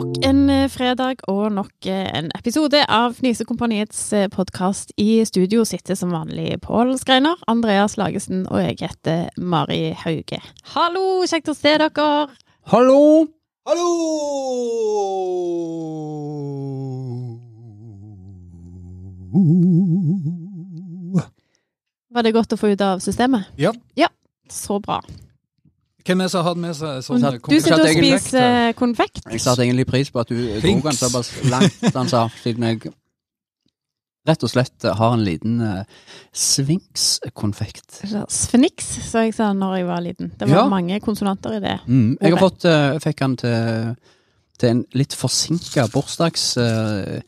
eh, fredag og nok eh, en episode av Fnisekompaniets eh, podkast. I studio sitter som vanlig Pål Skreiner, Andreas Lagesen og jeg heter Mari Hauge. Hallo, kjekt å se dere! Hallo! Hallo! Var det godt å få ut av systemet? Ja. Så bra. Hvem er det som har hatt med seg sånn Satt- Du sitter og Satt egentlig- spiser eh, konfekt. eh. Jeg satte egentlig pris på at du tok Flink. den såpass langt, han sa, siden jeg rett og slett har en liten uh, sfinkskonfekt. Sfniks, sa jeg sa når jeg var liten. Det var Ja. mange konsonanter i det. Mm, jeg har Ok. fått, eh, jeg fikk den til, til en litt forsinka bursdags... eh,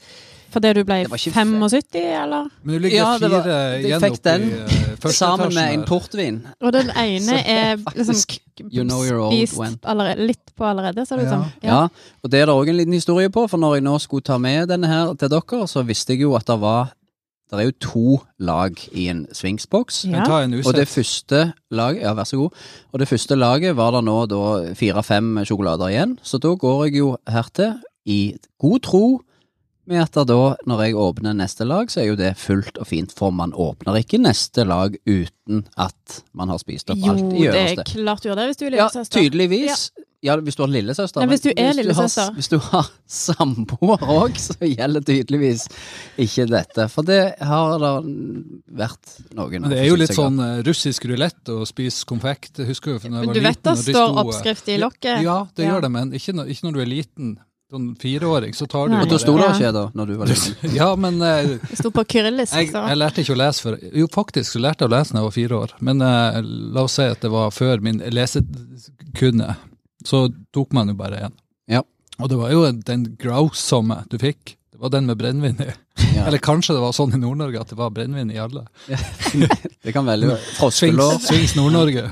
Fordi du ble Det var ikke- 75, eller? Men du ligger Ja, det var- fire jeg igjen fikk oppe den i eh, første sammen med etasjen en her. portvin. Og den ene Så det er er liksom faktisk you know you're old spist when. allerede, litt på allerede, ser det liksom, ut Ja. som. Ja, og det er det òg en liten historie på, for når jeg nå skulle ta med denne her til dere, så visste jeg jo at det var Det er jo to lag i en svingsboks. Ja. Men ta en Og det usett. første laget Ja, vær så god. Og det første laget var det nå da fire-fem sjokolader igjen. Så da går jeg jo hertil i god tro med at det da, når jeg åpner neste lag, så er jo det fullt og fint, for man åpner ikke neste lag uten at man har spist opp Jo, alt i det er øverste. klart du gjør det hvis du er Ja, lillesøster. tydeligvis. Ja, hvis du har lillesøster. Nei, men hvis du er har- lillesøster. Hvis du har samboer òg, så gjelder tydeligvis ikke dette. For det har da vært noen Men det er jo litt forsinkelser. sånn eh, russisk rulett å spise konfekt. Jeg husker jo fra da jeg Men var du vet liten. det og de står sto, eh, oppskrift i ja, lokket. Ja, det Ja. gjør det, men ikke når, ikke når du er liten. Sånn fireåring, så tar du Nei. jo Og da det. sto det Ja. ikke da, når du var liten. Ja, men eh, Det sto på kyrillisk. Jeg, så. jeg lærte ikke å lese før Jo, faktisk så lærte jeg å lese da jeg var fire år, men eh, la oss si at det var før min lesekunne. Så tok man jo bare en. Ja. Og det var jo den grausomme du fikk. Det var den med brennevin i. Ja. Eller kanskje det var sånn i Nord-Norge at det var brennevin i alle. Det kan velge froskelår. Svings, Svings Nord-Norge.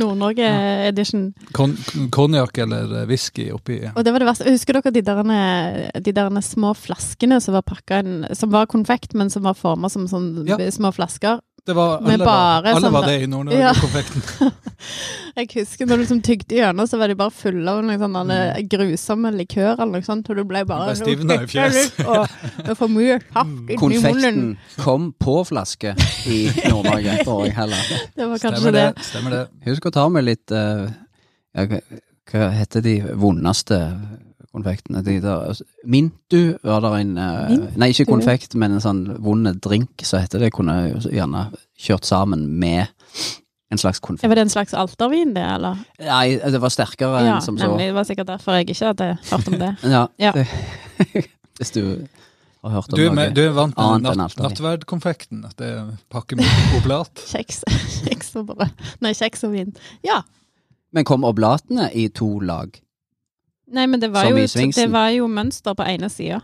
Nord-Norge-edition. Kon Konjakk eller eh, whisky oppi. Og det var det verste. Husker dere de derene- de der små flaskene som var pakka inn Som var konfekt, men som var forma som sånne Ja. små flasker? Det var, Med alle, var, bare alle sånn- var det i Ja. Nord-Norge-konfekten. Jeg husker når du liksom tygde gjennom, så var de bare fulle av noen sånne alle grusomme eh, likør eller noe sånt, og du ble bare Du ble stivna i fjeset. Og det var for mye hakk inni munnen. Konfekten kom på flaske i Nord-Norge forrige heller. Det var kanskje Stemmer det. det. Stemmer det. Husk å ta med litt eh, ja, hva- Hva heter de vondeste konfektene? De der, Mintu var der en eh, Mintu? Nei, ikke konfekt, men en sånn vond drink, så heter det. Kunne jo gjerne kjørt sammen med en slags konfekt. Var det en slags altervin, det, eller? Nei, det var sterkere Ja, enn som så. nemlig. Det var sikkert derfor jeg ikke hadde hørt om det. Ja, Ja. Det, hvis du har hørt om Du er, noe. med, du er vant med annet enn natt, alt annet. nattverdkonfekten. at Det er pakke med oblat. Kjeks, kjeks og brød. Nei, kjeks og vin. Ja. Men kom oblatene i to lag? Nei, men det var, Som jo, i Svingsen. det var jo mønster på ene sida.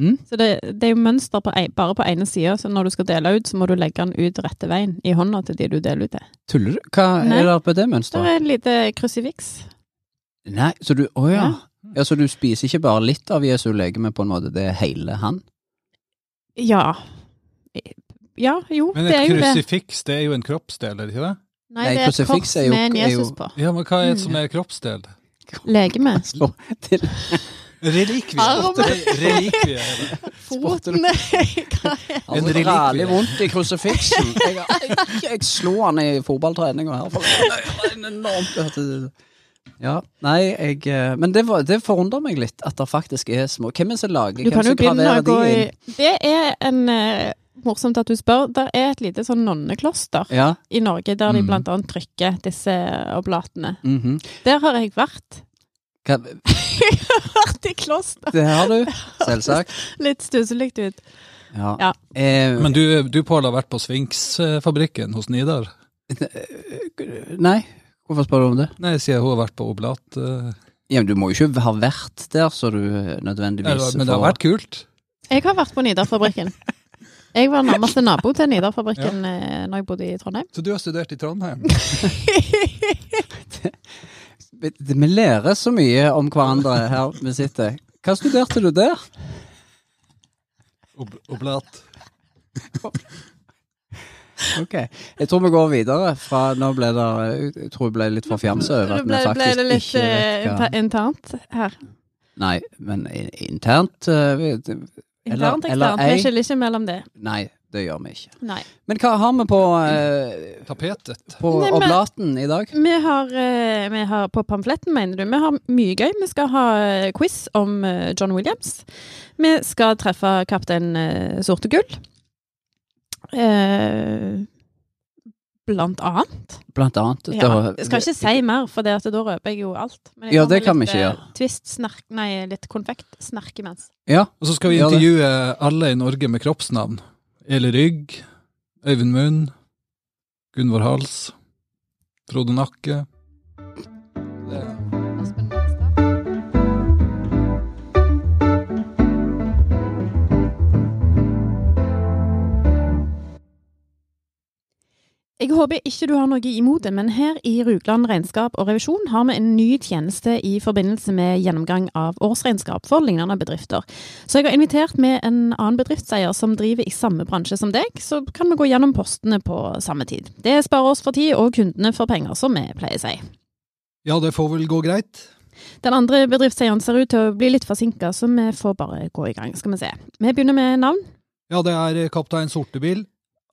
Mm? Så det, det er jo mønster på, ei- bare på ene sida, så når du skal dele ut, så må du legge den ut rette veien i hånda til de du deler ut til. Tuller du? Hva Nei. er det på det Der mønsteret? er et lite krusifiks. Nei, så du Å ja. Ja. ja. Så du spiser ikke bare litt av Jesu legeme, på en måte, det er hele han? Ja. Ja, jo, Men det et er jo det. krusifiks, det er jo en kroppsdel, er det ikke det? Nei, Nei, det er et krusifiks kors er jo- med en er jo- Jesus på. Ja, men hva er Mm. det som er kroppsdel? Legeme. Slå til Relikvie. Arm. Re- Relikvie er det. Spotter du? Foten Hva er Han En relikvie. ræler Altså, vondt i krusifiksen. Jeg, jeg, jeg slo han i fotballtreninga her. For det var en enormt Ja, nei, jeg eh, Men det, var, det forundrer meg litt at det faktisk er små Hvem er det som lager? Du Hvem kan jo som begynne å graverer gå de i inn? Det er en eh, Morsomt at du spør. Der er et lite sånn nonnekloster Ja. i Norge der de Mhm. blant annet trykker disse oblatene. mhm. Der har jeg vært. Hva- Vært i kloster! Det har du, selvsagt. Litt stusselig ut. Ja. Ja. Eh, Men du, du Pål, har vært på Sfinksfabrikken hos Nidar? nei, hvorfor spør du om det? Nei, jeg sier hun har vært på oblat. eh. Ja, men Du må jo ikke ha vært der, så du eh, Nei, nødvendigvis Men det har får- vært kult. Jeg har vært på Nidarfabrikken. Jeg var nærmeste nabo til Nidarfabrikken ja. når jeg bodde i Trondheim. Så du har studert i Trondheim? Vi vi lærer så mye om hverandre her vi sitter. Hva studerte du der? Ob oblat. Ok, Jeg tror vi går videre. Fra, nå ble det, jeg tror jeg ble litt for fjamsa over Det at vi ble, ble faktisk det litt ikke eh, vet hva inter- internt her. Nei, men i- internt eh, vi- Internt eller eksternt. Vi ei. skiller ikke mellom det. Nei, det gjør vi ikke. Nei. Men hva har vi på, eh, Tapetet. på Nei, men- oblaten i dag? Vi har, eh, vi har på pamfletten, mener du. Vi har mye gøy. Vi skal ha eh, quiz om eh, John Williams. Vi skal treffe kaptein eh, Sorte Gull. Eh, Blant annet. Blant annet. Ja. da- Jeg skal ikke si mer, for det at da røper jeg jo alt. Men jeg Ja, har med det kan vi litt, ikke eh, gjøre. Twist, snark, nei, litt konfekt. Snark imens. Ja, Og så skal vi Ja, det. intervjue alle i Norge med kroppsnavn. Eli Rygg, Øyvind Munn, Gunvor Hals, Frode Nakke. Jeg håper ikke du har noe imot det, men her i Rugland regnskap og revisjon har vi en ny tjeneste i forbindelse med gjennomgang av årsregnskap for lignende bedrifter. Så jeg har invitert med en annen bedriftseier som driver i samme bransje som deg, så kan vi gå gjennom postene på samme tid. Det sparer oss for tid og kundene for penger, som vi pleier å si. Ja, det får vel gå greit. Den andre bedriftseieren ser ut til å bli litt forsinka, så vi får bare gå i gang, skal vi se. Vi begynner med navn, Ja, det er eh, kaptein Sortebil,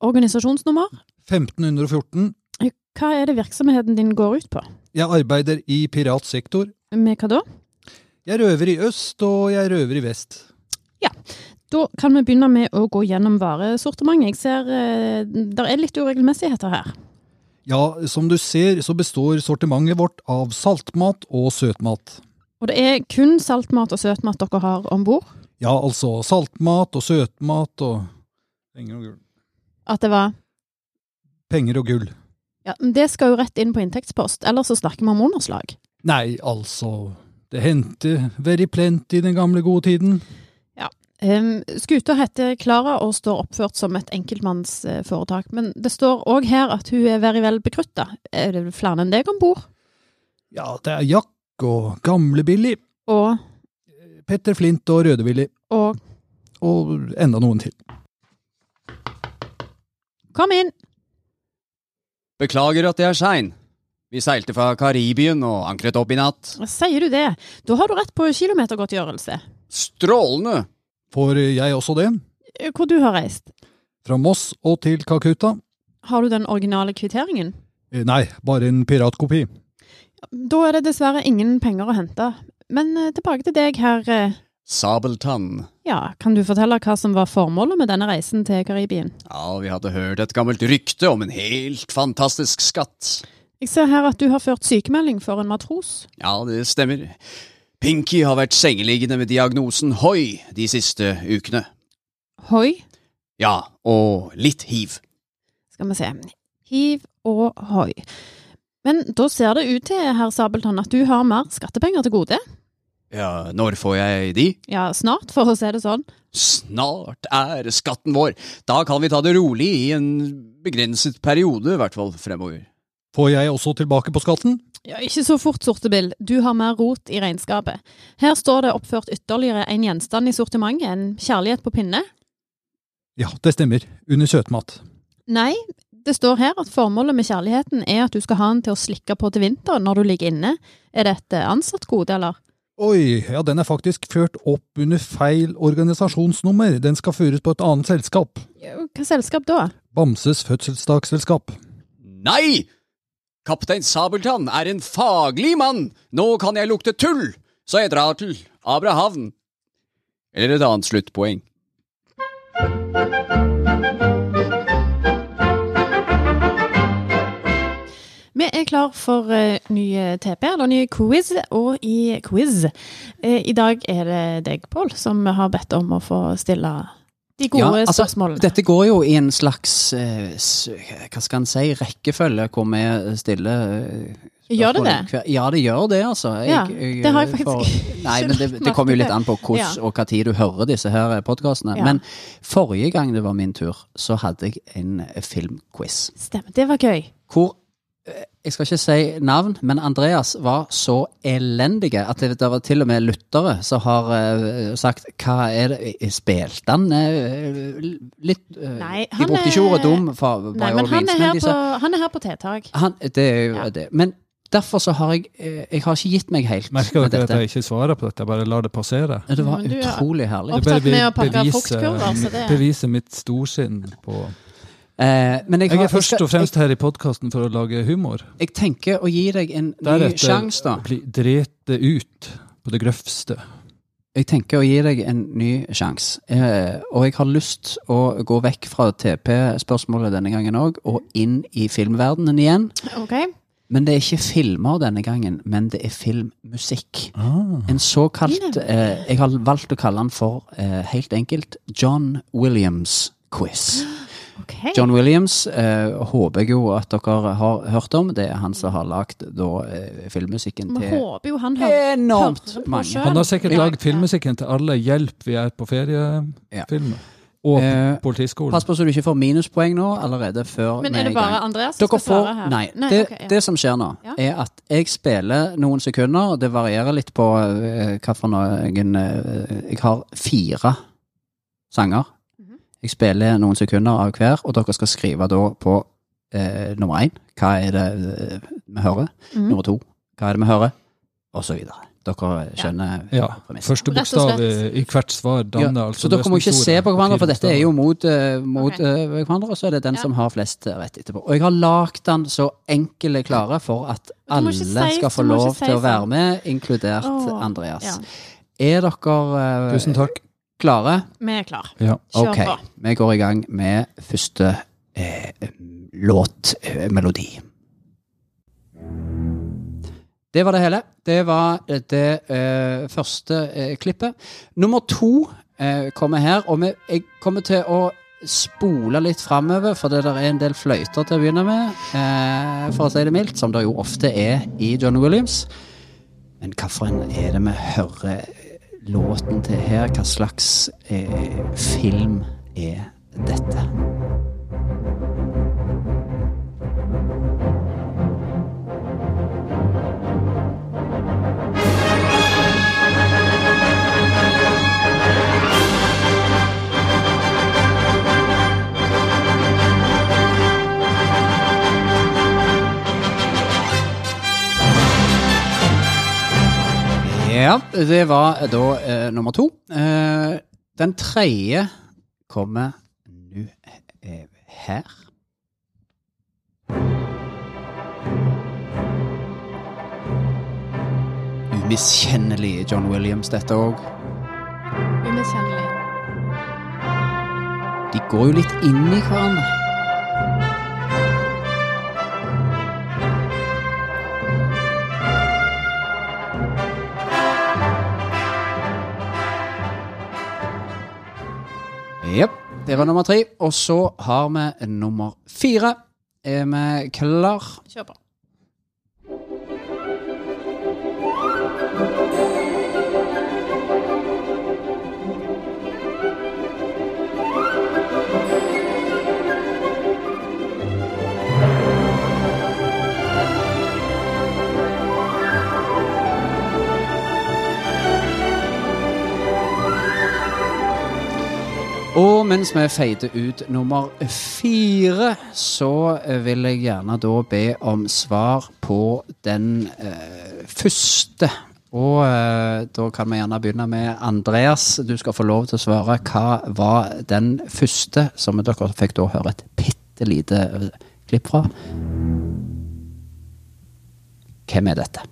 organisasjonsnummer. 1514. Hva er det virksomheten din går ut på? Jeg arbeider i piratsektor. Med hva da? Jeg røver i øst, og jeg røver i vest. Da kan vi begynne med å gå gjennom varesortimentet. Jeg ser eh, der er litt uregelmessigheter her. Ja, som du ser så består sortimentet vårt av saltmat og søtmat. Og det er kun saltmat og søtmat dere har om bord. Ja, altså saltmat og søtmat og Penger og gull. At det var Penger og gull. ja, men Det skal jo rett inn på inntektspost, ellers så snakker vi om underslag. Nei, altså, det hendte very plenty i den gamle gode tiden. Um, Skuta heter Klara og står oppført som et enkeltmannsforetak, men det står òg her at hun er veldig vel bekrutta. Er det flere enn deg om bord? Ja, det er Jack og Gamle-Billy, Og, Petter Flint og Røde-Billy, og og enda noen til. Kom inn! Beklager at jeg er sein. Vi seilte fra Karibien og ankret opp i natt. Sier du det? Da har du rett på kilometergodtgjørelse. Strålende! Får jeg også det? Eh, Hvor du har reist. Fra Moss og til Kakuta? Har du den originale kvitteringen? Eh, Nei, bare en piratkopi. Da er det dessverre ingen penger å hente. Men eh, tilbake til deg her. eh. Sabeltann. Ja, kan du fortelle hva som var formålet med denne reisen til Karibien? Ja, vi hadde hørt et gammelt rykte om en helt fantastisk skatt. Jeg ser her at du har ført sykemelding for en matros. Ja, det stemmer. Pinky har vært sengeliggende med diagnosen hoi de siste ukene. Hoi, Ja, og litt hiv. Skal vi se. Hiv og hoi. Men da ser det ut til, herr Sabeltann, at du har mer skattepenger til gode. Ja, når får jeg de? Ja, snart, for å si det sånn. Snart er skatten vår. Da kan vi ta det rolig i en begrenset periode, i hvert fall fremover. Får jeg også tilbake på skatten? Ja, ikke så fort, Sortebil. Du har mer rot i regnskapet. Her står det oppført ytterligere en gjenstand i sortimentet, en kjærlighet på pinne. Ja, det stemmer. Under søtmat. Nei, det står her at formålet med kjærligheten er at du skal ha den til å slikke på til vinteren når du ligger inne. Er det et eh, ansatt gode, eller? Oi, ja, den er faktisk ført opp under feil organisasjonsnummer. Den skal føres på et annet selskap. Ja, Hva selskap da? Bamses fødselsdagsselskap. Nei! Kaptein Sabeltann er en faglig mann! Nå kan jeg lukte tull, så jeg drar til Abrahavn. Eller et annet sluttpoeng. Vi er klar for eh, ny eh, TP, eller ny quiz, og i quiz eh, I dag er det deg, Pål, som har bedt om å få stille de Ja, gode altså, spørsmålene. Dette går jo i en slags eh, s- hva skal en si, rekkefølge hvor vi stiller eh, Gjør det det? spørsmål hver- Ja, det gjør det, altså. Ja, det har jeg faktisk for- Nei, men det, det kommer jo litt an på hvordan Ja. og hva tid du hører disse her podkastene. Ja. Men forrige gang det var min tur, så hadde jeg en filmquiz Stemmer, det var gøy. hvor eh, jeg skal ikke si navn, men Andreas var så elendige at det det var til og med lyttere som har eh, sagt Hva er det Spilte han eh, litt eh, Nei, han De brukte ikke er- ordet dum, for, by Nei, all men han means, er men her de på, sa- han er her på tiltak. han, det er jo Ja. det. Men derfor så har jeg eh, Jeg har ikke gitt meg helt Merker med dere at dette. jeg ikke svarer på dette, jeg bare lar det passere? Ja, Det var Men du er- utrolig herlig. Opptatt med å pakke fruktkurver, så det- bevise mitt storsinn på Eh, men jeg, Jeg har, er først skal- og fremst her i podkasten for å lage humor. Jeg, jeg tenker å gi deg en ny Deretter sjanse, da. bli drete ut på det grøvste. Jeg tenker å gi deg en ny sjanse. Eh, og jeg har lyst å gå vekk fra TP-spørsmålet denne gangen òg, og inn i filmverdenen igjen. OK? Men det er ikke filmer denne gangen, men det er filmmusikk. En såkalt eh, Jeg har valgt å kalle den for, eh, helt enkelt, John Williams-quiz. ok. John Williams eh, håper jeg jo at dere har hørt om. Det er han som har lagd da eh, filmmusikken Vi til håper jo han hører enormt hører på mange. selv. Han har sikkert Ja. lagd filmmusikken til alle hjelp vi er på feriefilm. Og Eh, på politiskolen. Pass på så du ikke får minuspoeng nå allerede før Men vi er det i bare gang. Andreas som Dere skal får, svare her? nei, det, ok, ja. det som skjer nå, Ja. er at jeg spiller noen sekunder. og Det varierer litt på eh, hva for noen eh, Jeg har fire sanger. Mhm. Jeg spiller noen sekunder av hver, og dere skal skrive da på eh, nummer én Hva er det eh, vi hører? Mhm. Nummer to Hva er det vi hører? Og så videre. Dere skjønner Ja, premisset. Første Rett og bokstav slett. i i hvert svar Ja, danner altså så dere må ikke se på hverandre, for dette er jo mot, eh, mot Ok. eh, hverandre, og så er det den Ja. som har flest eh, rett etterpå. Og jeg har lagd den så enkel jeg klarer for at Men du må alle ikke si- skal få du må ikke lov si til å sånn. være med, inkludert Åh, Andreas. ja. Er dere eh, Tusen takk. klare? Vi er klar. Ja. Kjør Ok, på. vi går i gang med første eh, låtmelodi. Det var det hele. Det var eh, det eh, første eh, klippet. Nummer to eh, kommer her, og vi, jeg kommer til å spole litt framover, for det der er en del fløyter til å begynne med, eh, for å si det mildt, som det jo ofte er i John Williams. Men hvilken er det vi hører låten til her? Hva slags eh, film er dette? Ja, det var da eh, nummer to. Eh, den tredje kommer nå eh, her. Umiskjennelig John Williams, dette òg. Umiskjennelig. De går jo litt inn i hverandre. Jepp. Det var nummer tre. Og så har vi nummer eh, fire. Er vi klar? Kjør på. Og mens vi feider ut nummer fire, så eh, vil jeg gjerne da be om svar på den eh, første. Og eh, da kan vi gjerne begynne med Andreas. Du skal få lov til å svare. Hva var den første som dere fikk da høre et bitte lite eh, klipp fra? Hvem er dette?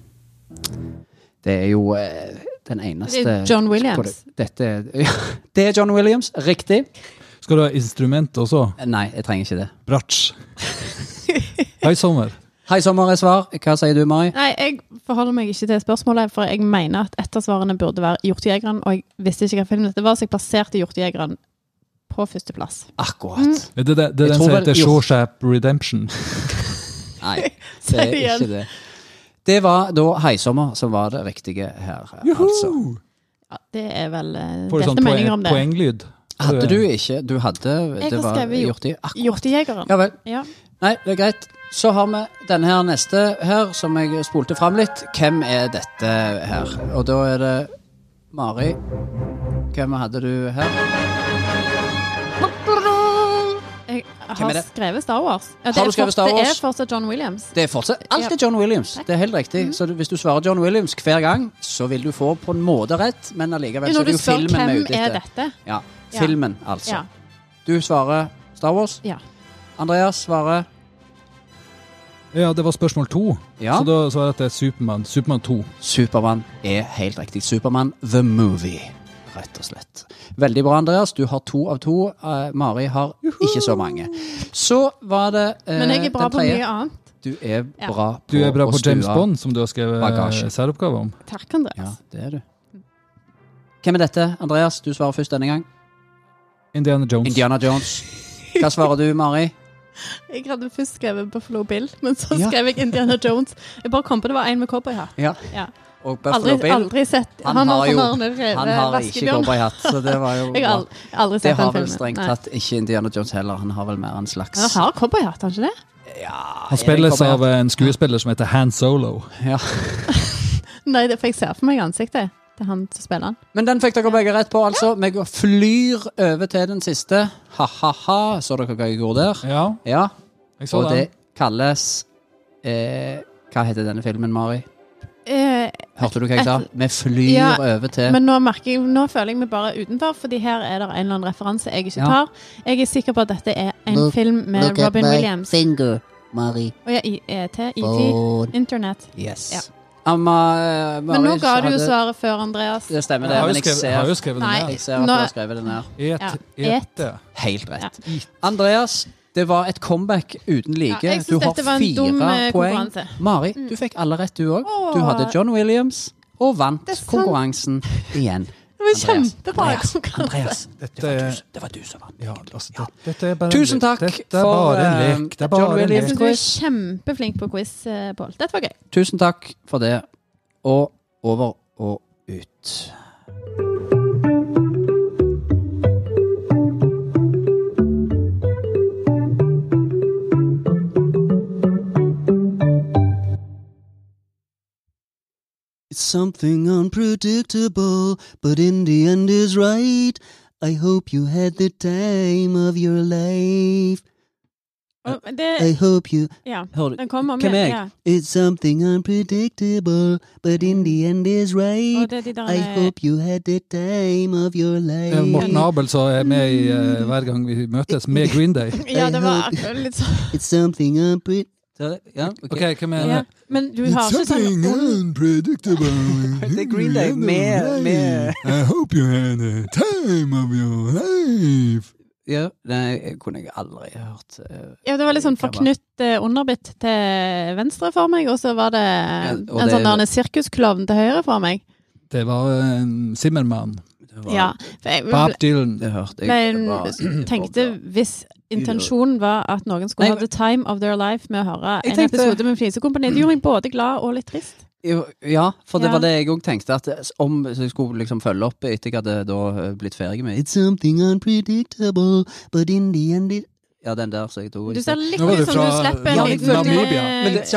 Det er jo eh, den eneste Det er John Williams. Dette er, det er John Williams, riktig. Skal du ha instrument også? Nei, jeg trenger ikke det. Bratsj. Hei, sommer. Hei, sommer er svar. Hva sier du, Mari? Nei, jeg forholder meg ikke til spørsmålet, for jeg mener at et av svarene burde være Hjortejegeren, og jeg visste ikke hva film dette var, så jeg plasserte Hjortejegeren på førsteplass. Akkurat. Er det, det, det er Jeg den tror som vel- heter jo. Shawshap Redemption? Nei, Si det er igjen. ikke det. Det var da Heisommer som var det riktige her, altså. Ja, det er vel eh, Får du delte sånn poeng, meninger om det. poenglyd? Hadde du ikke Du hadde Jeg Det har var skrevet jo- gjort i Akkurat. Hjortejegeren. Ja vel. Ja. Nei, det er greit. Så har vi denne her neste her, som jeg spolte fram litt. Hvem er dette her? Og da er det Mari. Hvem hadde du her? Jeg Hvem er har det? skrevet Star Wars. Ja, det er Har du skrevet Star fortsatt- Det Wars? er fortsatt John Williams. Det er fortsatt Alt er John Williams. Det er helt riktig. Mhm. Så du- hvis du svarer John Williams hver gang, så vil du få på en måte rett, men allikevel så er Når du det jo spør filmen vi er hvem ute er etter. dette Ja. Ja. Filmen, altså. Ja. Du svarer Star Wars. ja. Andreas svarer Ja, det var spørsmål to. Ja. Så da svarer jeg at det er Supermann. Supermann 2. Supermann er helt riktig. Supermann the movie, rett og slett. Veldig bra, Andreas. Du har to av to. Eh, Mari har ikke så mange. Så var det eh, Men jeg er bra den på tredje. mye annet. Du er Ja. bra på Du er bra å på James stue. Bond, som du har skrevet Bagasje. eh, særoppgave om. Takk, Andreas. Ja, det er du. Hvem er dette? Andreas, du svarer først denne gang. Indiana Jones. Indiana Jones. Hva svarer du, Mari? Jeg hadde først skrevet Buffalo Bill, men så Ja. skrev jeg Indiana Jones. Jeg bare kom på det var en med cowboyhatt. Ja. Ja. Og Aldri, Buffalo Bill. aldri sett Han har jo sånn der, eh, Han har ikke vaskebjørn. cowboyhatt, så det var jo Jeg har aldri, aldri Det sett den har vel filmen. strengt Nei. tatt ikke Indiana Jones heller. Han har vel mer en slags Han har cowboyhatt, har han ikke det? Han spilles av eh, en skuespiller som heter Han Solo. ja. Nei, det, for jeg ser for meg ansiktet til han som spiller han. Men den fikk dere begge rett på, altså. Vi går- flyr over til den siste. Ha-ha-ha. Så dere hva jeg gjorde der? Ja, Ja. jeg så Og den. det kalles eh, Hva heter denne filmen, Mari? Eh, Hørte du hva jeg sa? Vi flyr Ja, over til men nå, merker jeg, nå føler jeg meg bare utenfor, fordi her er det en eller annen referanse jeg ikke Ja. tar. Jeg er sikker på at dette er en Look- film med Look at Robin my Williams. finger, Murray. Og ja, I- E ET, ET, Phone. Internett. Yes. Ja. Amma, eh, Mari Men nå ga du jo hadde- svaret før, Andreas. Det stemmer, Jeg det. har jo Men jeg skrevet, har jo ser, skrevet Nei. den her. jeg ser at du Nå- har skrevet den her. Et, Ja. ete. Helt rett. Andreas, det var et comeback uten like. Ja, jeg synes du har dette var en fire dum, eh, poeng. konkurranse. Mm. Mari, du fikk alle rett, du òg. Du Åh. hadde John Williams og vant Det er sant. konkurransen igjen. Det var Andreas, kjempebra. konkurranse. Andreas, Dette det var er- du, det var du som vant. Ja, altså, det, dette er bare en Tusen lek. takk dette er for, bare en eh, lek. Det er bare John en Jeg Williams. synes lek. du er Quiz. kjempeflink på quiz, eh, Pål. Dette var gøy. Tusen takk for det. Og over og ut. It's something unpredictable, but in the end is right. I hope you had the time of your life. Og Det, I hope you. ja, Hører den du? kommer med. Hvem er jeg? Ja. It's something unpredictable, but in the end is Og right. det er de der eh, I hope you had the time of your Det er Eh, Morten Mm. life. Abel som er med i, eh, hver gang vi møtes, med Green Day. Ja, det var akkurat litt sånn. It's something unpredictable. Ja, ok. Ok, hvem er Ja. det? Men du har ikke sånn ond- unpredictable. Det er Green Day med- med- I hope you had a time of your life. Ja, det kunne jeg aldri hørt. eh, Ja, det var litt sånn forknytt eh, underbitt til venstre for meg, og så var det en og det- sånn der en sirkusklovn til høyre for meg. Det var en Zimmermann. det var- Ja, for jeg Bob ble, Dylan. Det hørte jeg. ble, bare- tenkte hvis intensjonen var at noen skulle Nei, ha the time of their life med å høre Jeg en tenkte- episode med Flisekompani, det gjorde meg både glad og litt trist. Jo, Ja, for det Ja. var det jeg òg tenkte. At om så jeg skulle liksom følge opp etter jeg hadde da eh, blitt ferdig med It's something unpredictable, but in the end it Ja, den der som jeg tok. Du ser litt Nå var ut du som du fra- slipper en Ja, liten Namibia. eh, Men det-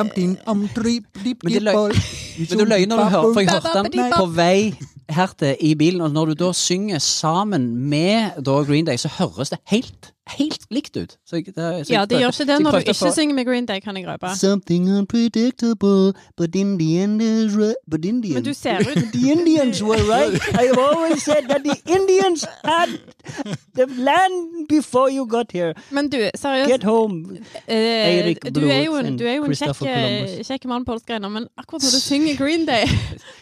Men det løy- Men du du løy når du hører, for jeg hørte den på vei hertil i bilen. Og når du da synger sammen med da Green Day, så høres det helt, helt likt ut. Så jeg, det, så jeg Ja, det prøvde- gjør ikke det så når jeg du prøvde å ikke få- synger med Green Day, kan jeg røpe. something unpredictable, but in the end is right. But in the Men du end, ser ut the Indians were right. I have always said that the Indians had the land before you got here. Men du, Get seriøst. home. Eh, Eirik du er jo Blod en, du er jo en kjekk, Christopher eh, Columbus. kjekk mann, Pål Skreiner, men akkurat når du synger Green Day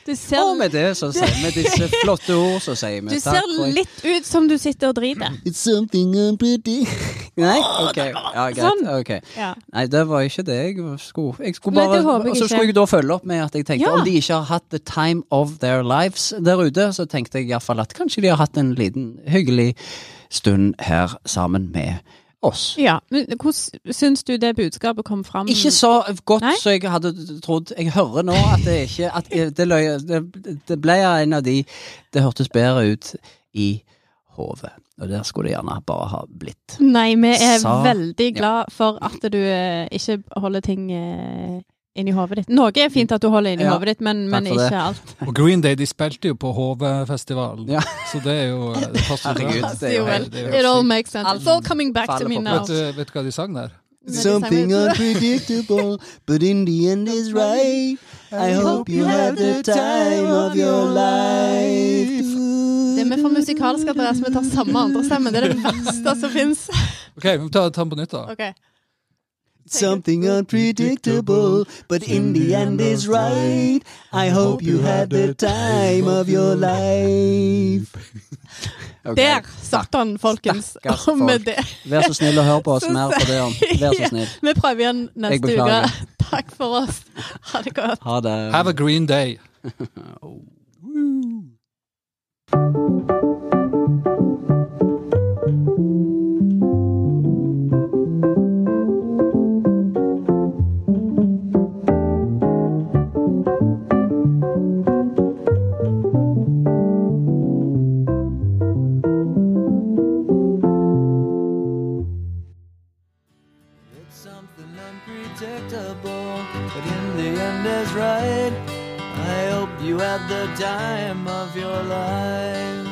Du ser, Og med det så sier vi disse flotte ord, så sier vi du ser for- litt ut som du sitter og driter. Mm. It's something unpredictable. Nei, ok. Ja, greit. er Sånn. ok. Ja. Nei, det var ikke det jeg skulle Jeg skulle Nei, bare det håper jeg Og så ikke. skulle jeg da følge opp med at jeg tenkte Ja. om de ikke har hatt the time of their lives der ute, så tenkte jeg iallfall at kanskje de har hatt en liten hyggelig stund her sammen med oss. ja. Men hvordan syns du det budskapet kom fram? Ikke så godt Nei? som jeg hadde trodd. Jeg hører nå at det ikke at det, løy- det, det ble en av de Det hørtes bedre ut i hodet. Og der skulle det gjerne bare ha blitt. Nei, vi er Sa- veldig glad for at du eh, ikke holder ting eh, inni hodet ditt. Noe er fint at du holder inni Ja. hodet ditt, men, men Takk for ikke det. alt. Og Green Day de spilte jo på HV-festivalen, Ja. så det er jo eh, det passer jo Herregud, bra. det er jo Nei, helt- det er It jo all sykt. makes sense. It's all coming back to Faller me på now. vet, du, vet du hva de sang der? Men det stemmer Something jo ikke. unpredictable, but in the end is right. I hope you have the time of your life. Det er vi for musikalsk adresse, vi tar samme andre stemme. Det er det verste som fins. Ok, vi må ta ta den på nytt, da. Okay. Something unpredictable, but in the end is right. I hope you had the time of your life. Ok. Der satt han, folkens. Stakkars Og med folk. det Vær så snill å høre på oss Så mer på det. Jan. Vær så snill. Vi prøver igjen Jeg neste uke. beklager. Takk for oss. Ha det godt. Ha det. Have a Green Day. It's something unpredictable, but in the end is right. I hope you had the time of your life.